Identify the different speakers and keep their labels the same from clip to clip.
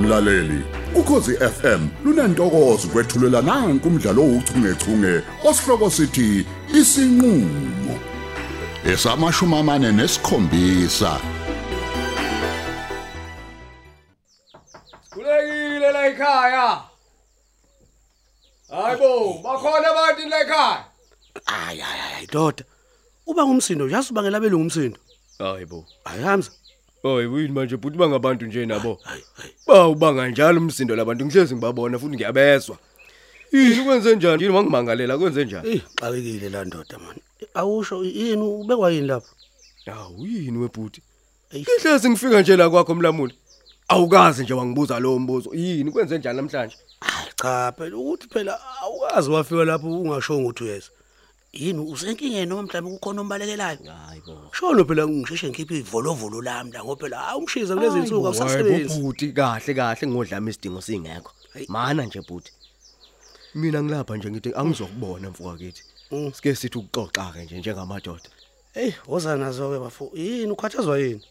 Speaker 1: mlaleli ukhosi FM lunantokozo kwethulela nanku umdlalo ouchungechunge osihloko sithi isinqulo esamashumi amane nesikhombisa
Speaker 2: Kulekile la ekhaya. Hayibo, bakhona abantu la ekhaya.
Speaker 3: Hayi hayi hayi doda. Uba ngumsindo uyazi ubangela belo ngumsindo.
Speaker 2: Hayibo.
Speaker 3: Hayamza.
Speaker 2: Oy, uyini manje bhuti bangabantu nje nabo. Ba ubanga njalo umsindo labantu ngihlezi ngibabona futhi ngiyabezwa. Yini kwenze njani? Yini wangimangalela kwenze njani?
Speaker 3: Eh, xakekile la ndoda man. Awusho yini ubekwa yini lapho?
Speaker 2: Hawu yini webhuti?
Speaker 3: Eish.
Speaker 2: Ngihlezi ngifika nje la kwakho mlamuli. Awukazi nje wangibuza lo mbuzo. Yini kwenze njani namhlanje?
Speaker 3: Hayi cha phela ukuthi phela awukazi wafika lapho ungasho ukuthi uyeza. Yini usenkingeni noma mhlawumbe kukhona ombalekelayo? Hayibo. Shono phela ngisheshe ngikhiphe ivolovolo lami la ngoba phela hayi umshiza kulezi insuku awusasebenzi.
Speaker 2: Bhuti kahle kahle ngodlama isidingo singekho. Mana nje bhuti. Mina ngilapha nje ngithi angizokubona mfoka kithi.
Speaker 3: Mm.
Speaker 2: Sike sithi ukuxoxa ke nje njengamadoda.
Speaker 3: Hey, woza nazo ke bafu. Yini ukhathazwa yini?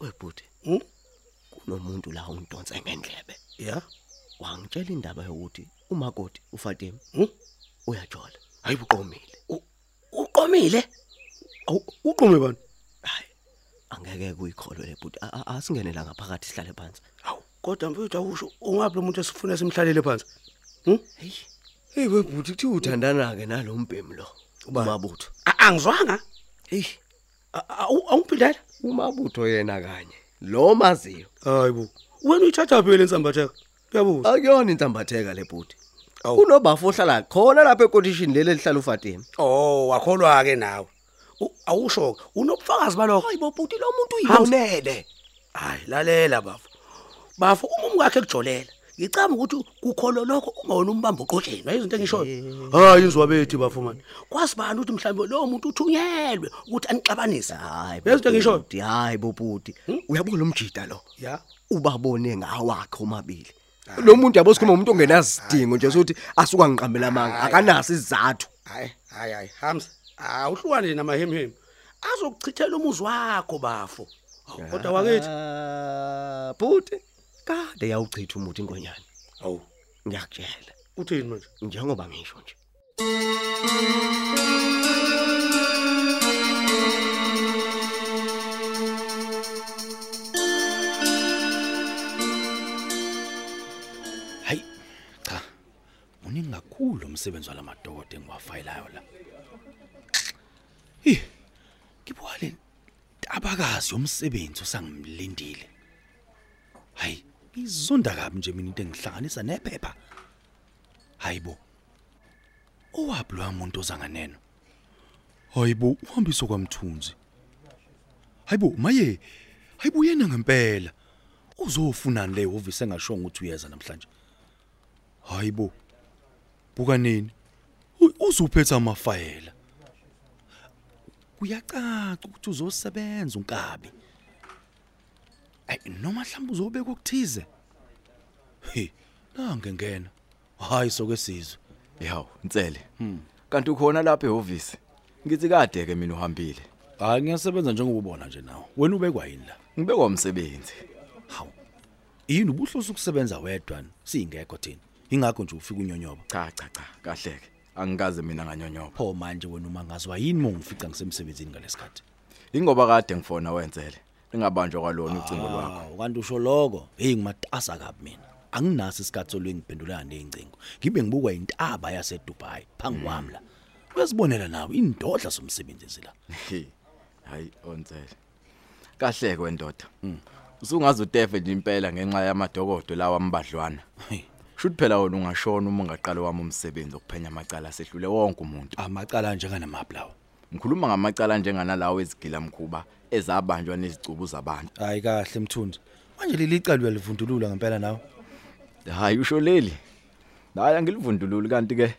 Speaker 4: webhuti
Speaker 3: Hm?
Speaker 4: kunomuntu la ungidonse ngendlebe
Speaker 3: Ya.
Speaker 4: wangitshela indaba yokuthi umakoti uFatima
Speaker 3: Hm?
Speaker 4: uyajola hayi uqomile
Speaker 3: Uqomile. Awu uqome bani?
Speaker 4: hayi angeke kuyikholwe lebhuti A- a- asingene la ngaphakathi sihlale phansi
Speaker 3: Hawu, kodwa mfowethu awusho ungabe lo muntu esifuna simhlalele phansi. Hm?
Speaker 2: Hey webhuti kuthi uthandana ke nalombhemi lo. Umabutho.
Speaker 3: A- Angizwanga.
Speaker 2: Hey,
Speaker 3: A- awu- Awungiphindela.
Speaker 2: umabutho yena kanye. Lo maziyo.
Speaker 3: Hayibo. Wena uyithatha phela insambatheka. Uyabuza.
Speaker 2: Akuyona intambatheka lebhuti. Oh.
Speaker 3: Awu.
Speaker 2: Kunobafo ohlala khona lapha ekotishini leli elihlala uFatima.
Speaker 3: Oh, wakholwa ke nawe. U- Awusho ke, unobufakazi balokho. Hayibo bhuti lo muntu uyibonele. Hayi, lalela bafu. Bafu uma umkakhe kujolela. Ngicama ukuthi kukholo lokho ungawona umbamba uqotsheni. Hayi izinto engishoyo. Hayi inzwa bethu bafu manje. Kwazi bani ukuthi mhlawumbe lo muntu uthunyelwe ukuthi anixabanise.
Speaker 2: Ah.
Speaker 4: hayi
Speaker 3: Yazi into engishoyo?
Speaker 4: bhuti, hayi bobhuti
Speaker 2: Hmm?
Speaker 4: uyabona umjida lo
Speaker 3: Ya.
Speaker 4: ubabone ngawakhe omabili
Speaker 2: Lo muntu yabo sikhuluma umuntu ongenasidingo nje sokuthi asuka ngiqambela amanga. Akanasi izathu.
Speaker 3: hayi hayi hayi hamza awuhlukane namahemhem azokuchithela umuzi wakho bafo Hawu, kodwa wakithi
Speaker 4: Ah, bhuti kade yawuchitha umuthi ingonyane
Speaker 3: awu
Speaker 4: ngiyakutshela
Speaker 3: uthini manje
Speaker 4: njengoba ngisho nje
Speaker 5: hayi cha muningi kakhulu umsebenzi walamadoda engiwafayilayo la hi ngibwale abakazi yomsebenzi osangimlindile hayi izonda kabi nje mina into engihlanganisa nephepha hayibo owaphi lo muntu ozanganeno hayibo uhambiso kwamthunzi hayibo maye hayibo yena ngempela uzofunani le hhovisi engasho ukuthi uyeza namhlanje Hayibo. Buka nini? U- Uzophetha amafayela. Kuyacaca ukuthi uzosebenza unkabi. Ay noma mhlawumbe uzobeka ukuthize. He, nange ngena. Hayi sokwesizwe.
Speaker 6: Yaw, Ntsele. Kanti ukhona lapha ehhovisi. Ngithi kade ke mina uhambile.
Speaker 5: Hayi ngiyasebenza njengobubona nje nawe. Wena ubekwa yini la?
Speaker 6: Ngibekwa umsebenzi.
Speaker 5: Hawu. Yini ubuhloso ukusebenza wedwa singekho thina. Ingakho nje ufika unyonyoba.
Speaker 6: Cha cha cha, kahle ke. Angikaze mina nganyonyoba.
Speaker 5: Pho manje wena uma ngazwa yini mongifica ngisemsebenzini ngalesikhathi.
Speaker 6: Ingoba kade ngifona wenzele. Ningabanjwa kwalona ucingo
Speaker 5: Ah.
Speaker 6: lwakho.
Speaker 5: Hawu kanti usho lokho hey ngimatasa kabi mina anginaso isikhatsi olwengiphendulela nezincingo ngibe ngibukwa intaba yase Dubai phangi kwami la uyazibonela nawe indodla somsebenzi la
Speaker 6: He. Hayi ontsele. Kahle ke wendoda. Usungaze utefe nje impela ngenxa yamadokodo lawa ambadlwana.
Speaker 5: Hey,
Speaker 6: Shuthi phela wona ungashona uma ungaqala wami umsebenzi okuphenya amacala asehlule wonke umuntu.
Speaker 5: amacala nje kanamaplawa
Speaker 6: Ngikhuluma ngamacala njenganalawo ezigila mkhuba ezabanjwa nezicubu zabantu.
Speaker 5: hayi kahle mthunzi manje leli icala uyalivundulula ngempela nawe
Speaker 6: hayi usho leli hhayi ngilivundululi kanti ke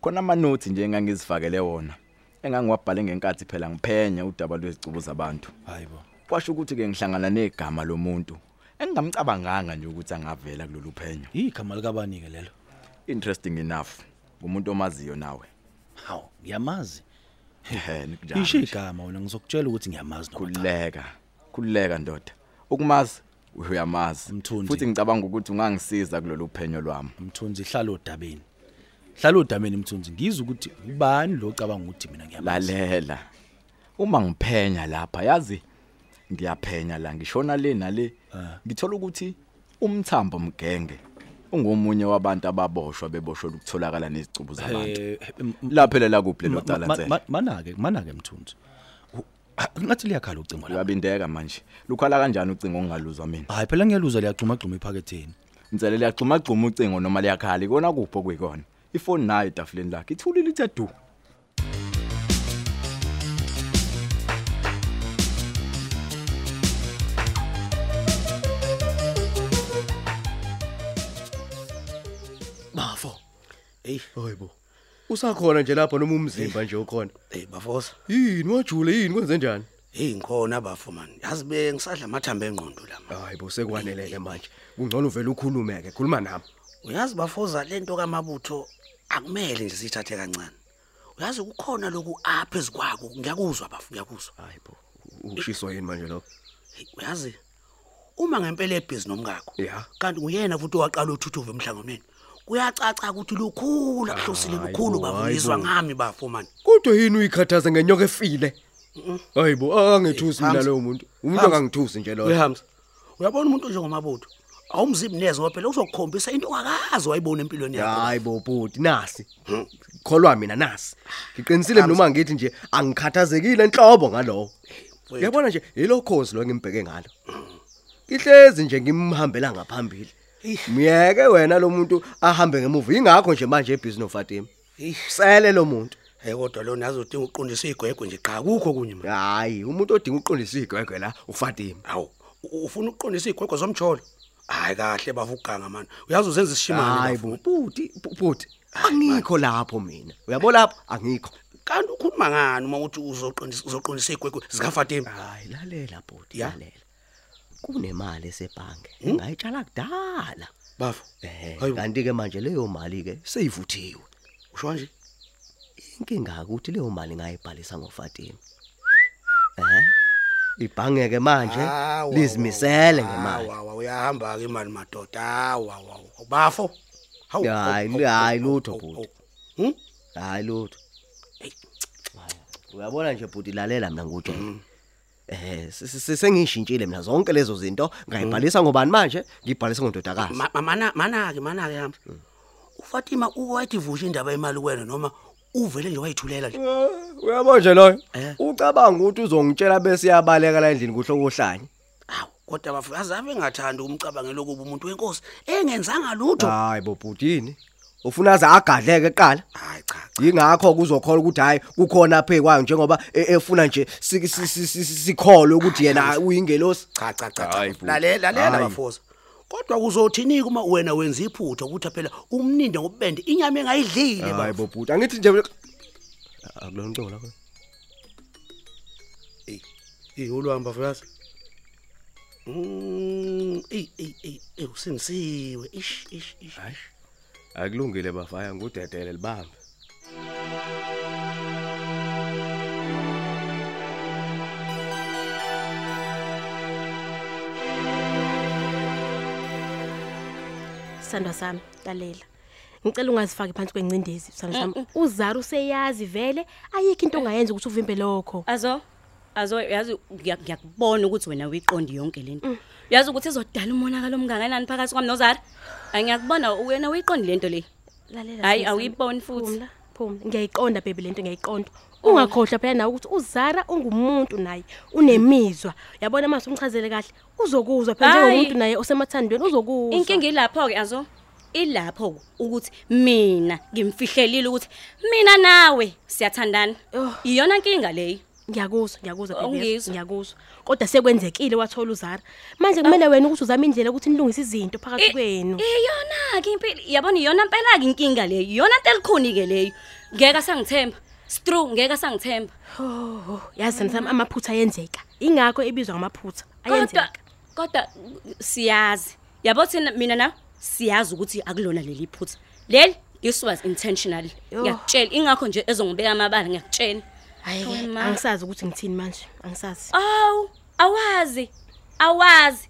Speaker 6: khona amanothi nje engangizifakele wona engangiwabhale ngenkathi phela ngiphenya udaba lwezicubo zabantu
Speaker 5: hayibo
Speaker 6: kwasho ukuthi ke ngihlangana negama lomuntu engingamcabanganga nje ukuthi angavela kulolu phenyo
Speaker 5: igama likabani ke lelo
Speaker 6: interesting enough ngumuntu omaziyo nawe
Speaker 5: hawu ngiyamazi
Speaker 6: ehe
Speaker 5: ngisho
Speaker 6: nikunjani
Speaker 5: igama wena ngizokutshela ukuthi ngiyamazi noma cha.
Speaker 6: khululeka khululeka ndoda ukumazi uyamazi
Speaker 5: Mthunzi.
Speaker 6: futhi ngicabanga ukuthi ungangisiza kulolu phenyo lwami
Speaker 5: mthunzi hlala odabeni hlala odabeni mthunzi ngizwe ukuthi ubani lo ocabanga ukuthi mina ngiyamazi
Speaker 6: lalela uma ngiphenya lapha yazi ngiyaphenya la ngishona le nale ngithola ukuthi umthambo mgenge ungomunye wabantu ababoshwa beboshwa ukutholakala nezicubu zabantu
Speaker 5: Eh, m- m-
Speaker 6: laphela la kuphi lelo
Speaker 5: ma- ma- ma-
Speaker 6: talentsela
Speaker 5: ma- manake manake mthunzi U- ah, ngathi liyakhala ucingo la
Speaker 6: uyabindeka manje lukhala kanjani ucingo ongaluzwa mina
Speaker 5: hayi phela ngiyaluzwa liyagxumagxuma ephaketheni
Speaker 6: ntsele liyagxuma gxuma ucingo noma liyakhali kona kupho kuyikona ifoni nayo etafuleni lakhe ithulile ithe du
Speaker 4: bafo
Speaker 3: hey
Speaker 2: hayibo usakhona nje lapha noma umzimba nje ukhona
Speaker 3: hey bafosa
Speaker 2: yini wajule yini kwenze njani
Speaker 3: hey ngikhona bafo man yazi be ngisadla amathamba engqondo la man.
Speaker 2: hayibo sekwaneleke manje kungcono uvele ukhulume ke khuluma nami
Speaker 3: uyazi bafoza lento kamabutho akumele nje sithathe kancane uyazi ukukhona loku apha ezikwako ngiyakuzwa bafu ngiyakuzwa
Speaker 2: hayibo ushiswa yini manje lo
Speaker 3: Hey, uyazi uma ngempela ebhizi nomkakho
Speaker 2: Ya.
Speaker 3: kanti uyena futhi owaqala uthuthuva emhlanganweni kuyacaca ukuthi lukhulu akuhlosile
Speaker 2: Hayibo,
Speaker 3: lukhulu bafu
Speaker 2: hayibo.
Speaker 3: ngizwa ngami bafu man
Speaker 2: kodwa yini uyikhathaza ngenyoka efile hayibo akangethusi
Speaker 3: Eh,
Speaker 2: mina
Speaker 3: Hamza.
Speaker 2: lowo muntu umuntu
Speaker 3: Hamza.
Speaker 2: akangithusi nje lo
Speaker 3: uyahamza uyabona umuntu njengomabutho awumzimbi nezo phela uzokukhombisa into ongakazi wayibona empilweni yakho
Speaker 2: hayibo bhuti nasi kholwa mina nasi ngiqinisile noma ngithi nje angikhathazekile enhlobo ngalowo
Speaker 3: mfowethu.
Speaker 2: uyabona nje yilo khozi lo ngimbheke ngalo ihlezi nje ngimhambela ngaphambili myeke wena lo muntu ahambe ngemuva ingakho nje manje ebhizinisi nofatima
Speaker 3: Eish.
Speaker 2: sele lo muntu
Speaker 3: hey kodwa lona yazi udinga uqondisa igwegwe nje cha kukho kunye manje
Speaker 2: hayi umuntu odinga uqondisa igwegwe la ufatima
Speaker 3: awu u- ufuna uqondisa igwegwe zomjolo hayi kahle bafu uganga mani uyazi uzenza isishimane
Speaker 2: hayi
Speaker 3: bafu.
Speaker 2: bo bhuti bu- bhuti angikho lapho mina uyabo lapho angikho
Speaker 3: kanti ukhuluma ngani uma uthi uzoqondisa uzoqondisa igwegwe zikafatima
Speaker 4: hayi lalela bhuti
Speaker 3: Ya.
Speaker 4: lalela kunemali esebhange
Speaker 2: Hm?
Speaker 4: engayitshala kudala
Speaker 3: bafu
Speaker 4: ehe
Speaker 3: Hayibo.
Speaker 4: kanti ke manje leyo mali ke seyivuthiwe
Speaker 3: usho kanje
Speaker 4: inkinga ukuthi leyo mali ngayibhalisa ngofatima ehe ibhange ke manje lizimisele ngemali
Speaker 3: awa uyahamba ke imali madoda awa awa bafo hawu
Speaker 4: Hayi,
Speaker 3: hawu,
Speaker 4: hayi,
Speaker 3: hawu,
Speaker 4: lutho,
Speaker 3: hawu,
Speaker 4: bhuti.
Speaker 3: hawu. Hm?
Speaker 4: hayi lutho Hayi. uyabona nje bhuti lalela mina ngutshela eh si- si- si- sengishintshile mina zonke lezo zinto ngayibhalisa ngobani manje ngibhalisa ngondodakazi
Speaker 3: Ma- ma- mana mana ke mana ke hamba
Speaker 4: Hmm.
Speaker 3: ufatima uwathi vusha indaba yemali kwena noma uvele nje wayithulela nje
Speaker 2: uyabo nje loyo
Speaker 3: Eh.
Speaker 2: ucabanga ukuthi uzongitshela bese iyabaleka la endlini kuhle kohlanye
Speaker 3: hawu kodwa bafukazi ave ngathanda umcabangelo okuba umuntu wenkosi engenzanga lutho
Speaker 2: hayi bo bhuti yini ufuna aze agadleke kuqala
Speaker 3: hayi cha cha.
Speaker 2: yingakho kuzokhola ukuthi hhayi kukhona phe kwayo njengoba e- efuna nje si- si- si- si- si- sikholwe ukuthi yena uyingelosi
Speaker 3: cha cha cha cha lalela lalela bafosa kodwa kuzothini uma wena wenza iphutho ukuthi phela umninde ngobende inyama engayidlile
Speaker 2: hayi
Speaker 3: baba
Speaker 2: bo bhuti angithi nje
Speaker 4: akuloncola
Speaker 3: ihulwamba bafukazi Mm, ey ey ey ey usengisiwe ish ish ish
Speaker 2: akulungile bafaya ngudedele libambe
Speaker 7: sithandwa sami lalela ngicela ungazifaki phansi kwengcindezi sithandwa sami uzara useyazi vele ayikho into ongayenza ukuthi uvimbe lokho
Speaker 8: azo azo yazi ngiya- ngiyakubona ukuthi wena uyiqondi yonke lento uyazi ukuthi izodala umonakalo omnganganani phakathi kwami nozara Hhayi, ngiyakubona wena uyiqondi lento le
Speaker 7: lalela
Speaker 8: Hhayi,
Speaker 7: Sithandwa sami.
Speaker 8: awuyiboni futhi.
Speaker 7: Phumla, Oh. phumla ngiyayiqonda baby lento ngiyayiqonda ungakhohlwa phela nawe ukuthi uzara ungumuntu naye unemizwa yabona mase umchazele kahle uzokuzwa phela
Speaker 8: Hhayi.
Speaker 7: njengomuntu naye osemathandweni uzokuzwa
Speaker 8: inkinga ilapho-ke azo ilapho ukuthi mina ngimfihlelile ukuthi mina nawe siyathandana
Speaker 7: Oh.
Speaker 8: iyona nkinga leyo
Speaker 7: ngiyakuzwa ngiyakuzwa baby, yes,
Speaker 8: Ungizwa.
Speaker 7: ngiyakuzwa kodwa sekwenzekile wathola uzara manje
Speaker 8: Ah.
Speaker 7: kumele wena ukuthi uzame indlela ukuthi nilungise izinto phakathi kwenu
Speaker 8: iyona-ke impilo yabona iyona mpela-ke inkinga leyo iyona nto elikhuni-ke leyo ngeke asangithemba stru ngeke asangithemba
Speaker 7: Oh, yazi sana sami amaphutha ayenzeka. Ingakho ebizwa ngamaphutha.
Speaker 8: kodwa
Speaker 7: Ayenzeka.
Speaker 8: kodwa siyazi yabo thina mina na siyazi ukuthi akulona leli phutha leli this was intentional
Speaker 7: Yho.
Speaker 8: ngiyakutshela ingakho nje ezongibeka amabala ngiyakutshela
Speaker 7: Hayi,
Speaker 8: Hawe ma.
Speaker 7: angisazi ukuthi ngithini manje. Angisazi.
Speaker 8: awu awazi awazi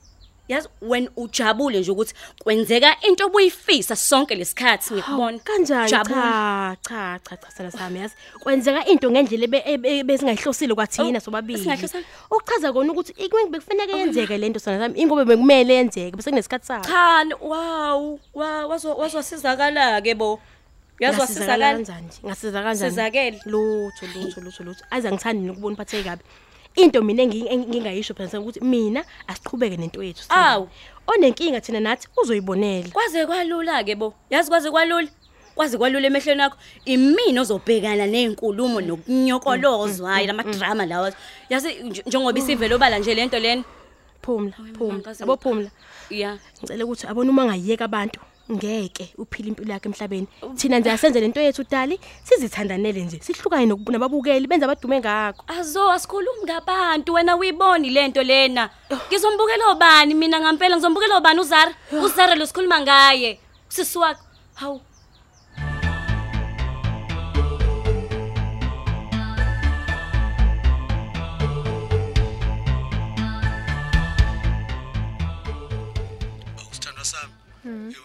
Speaker 8: yazi wena ujabule nje ukuthi kwenzeka into obuyifisa sonke lesikhathi ngikubona
Speaker 7: kanjani cha
Speaker 8: Jabula.
Speaker 7: cha cha cha sana sami yazi kwenzeka into ngendlela ebe- ebe- besingayihlosile kwathina
Speaker 8: Oh,
Speaker 7: sobabili
Speaker 8: singayihlosanga?
Speaker 7: okuchaza kona ukuthi ikwengu bekufanele yenzeke lento sana sami ingobe bekumele yenzeke bese kunesikhathi sayo
Speaker 8: Khani wow wa- wazo- wazosizakala ke bo yazi
Speaker 7: Ngasizakala
Speaker 8: wasizakala
Speaker 7: kanjani ngasiza kanjani
Speaker 8: Sizakele.
Speaker 7: lutho lutho lutho lutho aze ngithandi nokubona uphatheke kabi into mina engi- engi- engingayisho phela ukuthi mina asiqhubeke nento yethu sithandane.
Speaker 8: Awu.
Speaker 7: onenkinga thina nathi uzoyibonela
Speaker 8: kwaze kwalula ke bo yazi kwaze kwalula kwaze kwalula emehlweni akho imini ozobhekana nezinkulumo nokunyokolozwa hayi lama drama lawa yazi nj- njengoba isivele obala nje lento lena
Speaker 7: phumla phumla
Speaker 8: Nkosi yami.
Speaker 7: yabo phumla
Speaker 8: yeah
Speaker 7: ngicela ukuthi abone uma ngayiyeka abantu ngeke uphile impilo yakhe emhlabeni thina nje asenze lento yethu dali sizithandanele nje sihlukane nokubu- nababukeli benze abadume ngakho
Speaker 8: azo asikhulumi ngabantu wena uyiboni lento lena ngizombukela obani mina ngampela ngizombukela obani uzara uzara lo sikhuluma ngaye usisi wakho hawu
Speaker 3: Awusithandwa sami.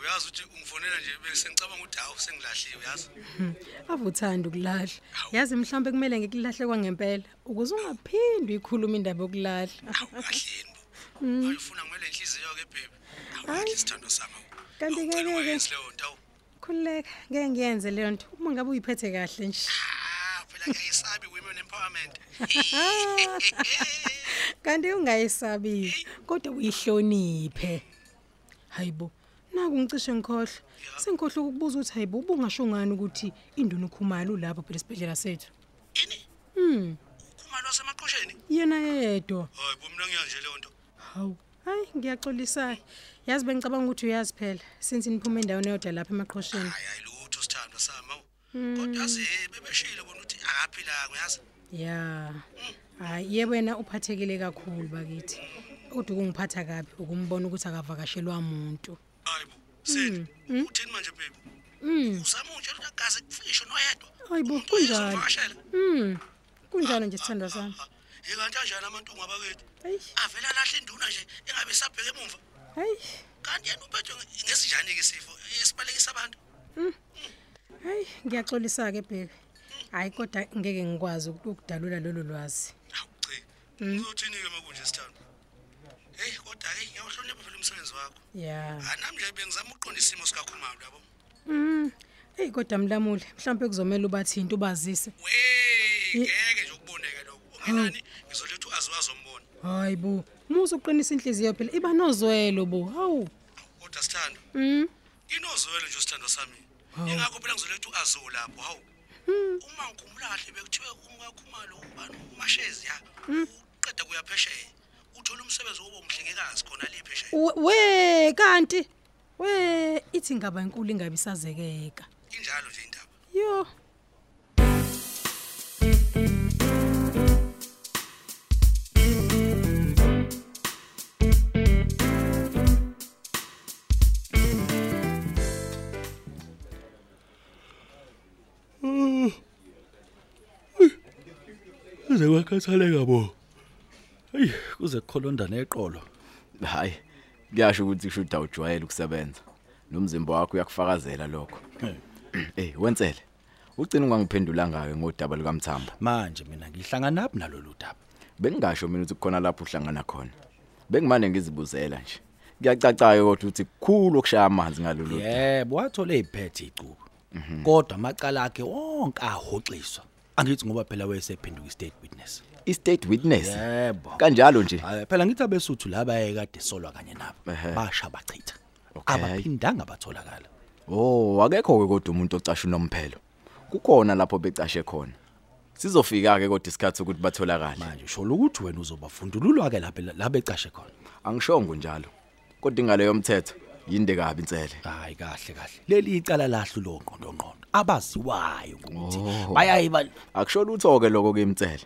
Speaker 3: Uyazi ukuthi ungifonela nje bese ngicabanga ukuthi hawu sengilahliwe yazi.
Speaker 9: avuthanda ukulahla yazi mhlawumbe kumele ngikulahle kwangempela ukuze ungaphindi uyikhuluma indaba yokulahla
Speaker 3: Awukahleni bo.
Speaker 9: Mm.
Speaker 3: Ayifuna ngimele inhliziyo ke baby. Awuhle sithandwa sami.
Speaker 9: Kanti-ke
Speaker 3: Awucela
Speaker 9: ke-ke.
Speaker 3: uyenze leyo nto. awu.
Speaker 9: khululeka ngeke ngiyenze leyo nto uma ngabe uyiphethe kahle nje
Speaker 3: Ah, phela ngiyayisabi women empowerment.
Speaker 9: kanti ungayisabile kodwa uyihloniphe hayibo naku ngicishe ngikhohle sengikhohle ukubuza ukuthi hayibo ubungasho ngani ukuthi induna ukhumalo ulapho phela esibhedlela sethu Hmm.
Speaker 3: Ukhumalo wasemaqhosheni.
Speaker 9: yena yedwa
Speaker 3: Hayi bo mina ngiya nje leyo nto.
Speaker 9: hawu hayi ngiyaxolisayo yazi bengicabanga ukuthi uyazi phela since niphume endaweni eyodwa lapha Hmm. emaqhosheni
Speaker 3: Hayi hayi lutho sithandwa sami. awu. Kodwa yazi eh, bebeshilo bona ukuthi akaphilanga Hmm. uyazi.
Speaker 9: ya hhayi ye wena uphathekile kakhulu bakithi kodwa ukungiphatha kabi ukumbona ukuthi akavakashelwa muntu
Speaker 3: Hayi bo. Sele. Uthini manje baby? Mm. Usamutsha lutagaze kufisho noyedwa.
Speaker 9: Hayi bo,
Speaker 3: Umuntu
Speaker 9: kunjani?
Speaker 3: oyezomvakashela.
Speaker 9: kunjalo nje sithandwa sami
Speaker 3: Yikanti kanjani amantunga abakwethu?
Speaker 9: Eish.
Speaker 3: Avela lahle induna nje engabe sabheke emuva.
Speaker 9: hayi
Speaker 3: Kanti yena uphethwe nge- ngesinjani ke sifo esibalekisa abantu?
Speaker 9: hayi ngiyaxolisa-ke bheki hhayi kodwa ngeke ngikwazi uk- ukudalula lolu lwazi Hmm?
Speaker 3: Awuchi. Uzothini ke makunje sithando? Hey kodwa ke ngiyawuhlonipha phela umsebenzi wakho.
Speaker 9: ya
Speaker 3: Anami nje bengizama ukuqonda isimo sikaKhumalo yabo.
Speaker 9: eyi Hmm. kodwa mlamule mhlawumpe kuzomele ubathinte ubazise
Speaker 3: Wey, ngeke nje ukuboneke lokho. Ungenani ngizoletha uAzwazi ombona.
Speaker 9: hhayi bo musa uqinisa inhliziyo phela iba nozwelo bo hawu
Speaker 3: Kodwa sithando.
Speaker 9: Mm.
Speaker 3: Inozwelo nje usithando sami. Ingakho phela ngizoletha uAzo lapho, hawu. Uma ngikhumbula kahle bekuthiwe umkaKhumalo ubani umashezi ya. Uqeda kuya phesheya. Uthola umsebenzi woba umhlengekazi khona le phesheya.
Speaker 9: We- we kanti we ithi ngaba inkulu ingabe isazekeka
Speaker 3: Injalo nje indaba.
Speaker 9: yo
Speaker 5: Uze wakhathaleka bo. Hey, kuze kukholonda neqolo.
Speaker 6: hayi kuyasho ukuthi kusho ukuthi awujwayele ukusebenza nomzimba wakho uyakufakazela lokho hey wensele ugcina ungangiphendula ngayo ngodaba lukaMthambo
Speaker 5: Manje mina ngihlangana naphi nalolu daba?
Speaker 6: bengingasho mina ukuthi kukhona lapho uhlangana khona bengimane ngizibuzela nje kuyacacayo kodwa ukuthi kukhulu okushaya amanzi ngalolu
Speaker 5: Yebo, wathola iziphethe icubu. Kodwa amacala akhe wonke ahoxiswa. Angithi ngoba phela wayesephenduka i-state witness.
Speaker 6: i-state witness
Speaker 5: Yebo.
Speaker 6: kanjalo nje
Speaker 5: Hayi phela ngithi abesuthu laba ayekade solwa kanye nabo.
Speaker 6: Ehhe.
Speaker 5: Basha bachitha.
Speaker 6: Okay.
Speaker 5: Abaphindanga batholakala.
Speaker 6: oh akekho ke kodwa umuntu ocasha unomphelo kukhona lapho becashe khona sizofika ke kodwa isikhathi ukuthi batholakale
Speaker 5: Manje sho ukuthi wena uzobafundululwa ke lapha labecashe khona.
Speaker 6: angishongo njalo kodwa ingaleyo mthetho yinde kabi insele
Speaker 5: hayi kahle kahle leli icala lahle lo ngqondo ngqondo abaziwayo ukuthi
Speaker 6: Oh.
Speaker 5: bayayiba
Speaker 6: akusho lutho ke lokho kemtsela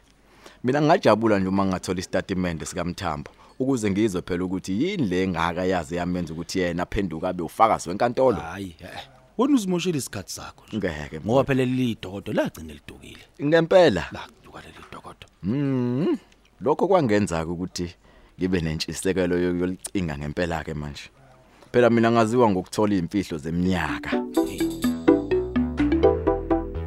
Speaker 6: mina ngingajabula nje uma ngingathola isitatimende sikaMthambo ukuze ngizwe phela ukuthi yini le ngaka yazi yamenza ukuthi yena aphenduka abe ufakazi wenkantolo
Speaker 5: hayi eh, wena uzimoshela isikhathi sakho nje.
Speaker 6: Ngeke,
Speaker 5: ngoba phela leli dokodo lagcina lidukile
Speaker 6: ngempela
Speaker 5: laduka leli dokodo
Speaker 6: mhm lokho kwangenza ukuthi ngibe nentshisekelo yo- yolicinga ngempela ke manje phela mina ngaziwa ngokuthola imfihlo zeminyaka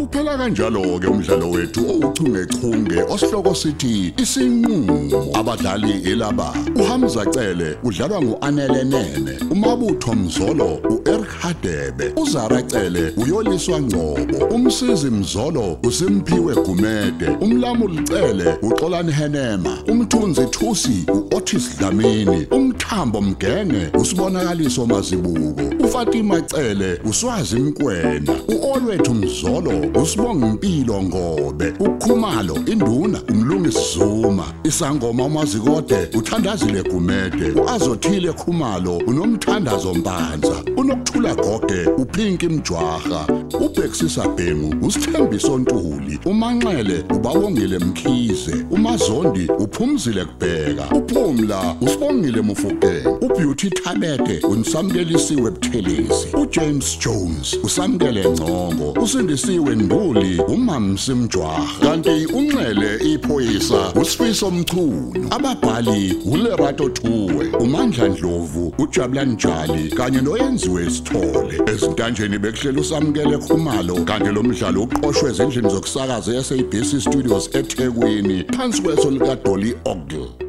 Speaker 1: Uphela kanjalo ke umdlalo wethu ouchungechunge osihloko sithi isinqulo abadlali elaba uHamza Cele udlalwa nguAnele Nene uMabutho Mzolo uEric Hadebe uZara Cele uyoliswa Ngcobo umsizi Mzolo uSimphiwe Gumede umlamuli Cele uXolani Henema umthunzi Thusi uOtis Dlamini umthambo Mgenge usibonakaliso mazibuko uFatima Cele uswazi Mkwena uOlwethu Mzolo usibonga impilo ngobe ukhumalo induna umlungisi Zuma isangoma umazikode uthandazile Gumede uazothile khumalo unomthandazo Mpanza unokuthula gogwe uphinki Mjwaha ubhexisa Bhengu usithembiso Ntuli umanxele ubawongile Mkhize umazondi uphumzile kubheka uphumla usibongile Mufukeke ubeauty Thabede unsamkelisiwe Buthelezi uJames Jones usamkele Ngcongo usindisiwe Nduli umamsi Mjwaha kanti unxele iphoyisa uSifiso Mchunu ababhali uLerato Thuwe uMandla Dlovu uJabulani Njali kanye noyenziwe Sithole ezintanjeni bekuhlela usamkele khumalo kanti lo mdlalo uqoqwwe ezindlini zokusakaza eSABC Studios eThekwini phansi kweso lika Dolly Ogle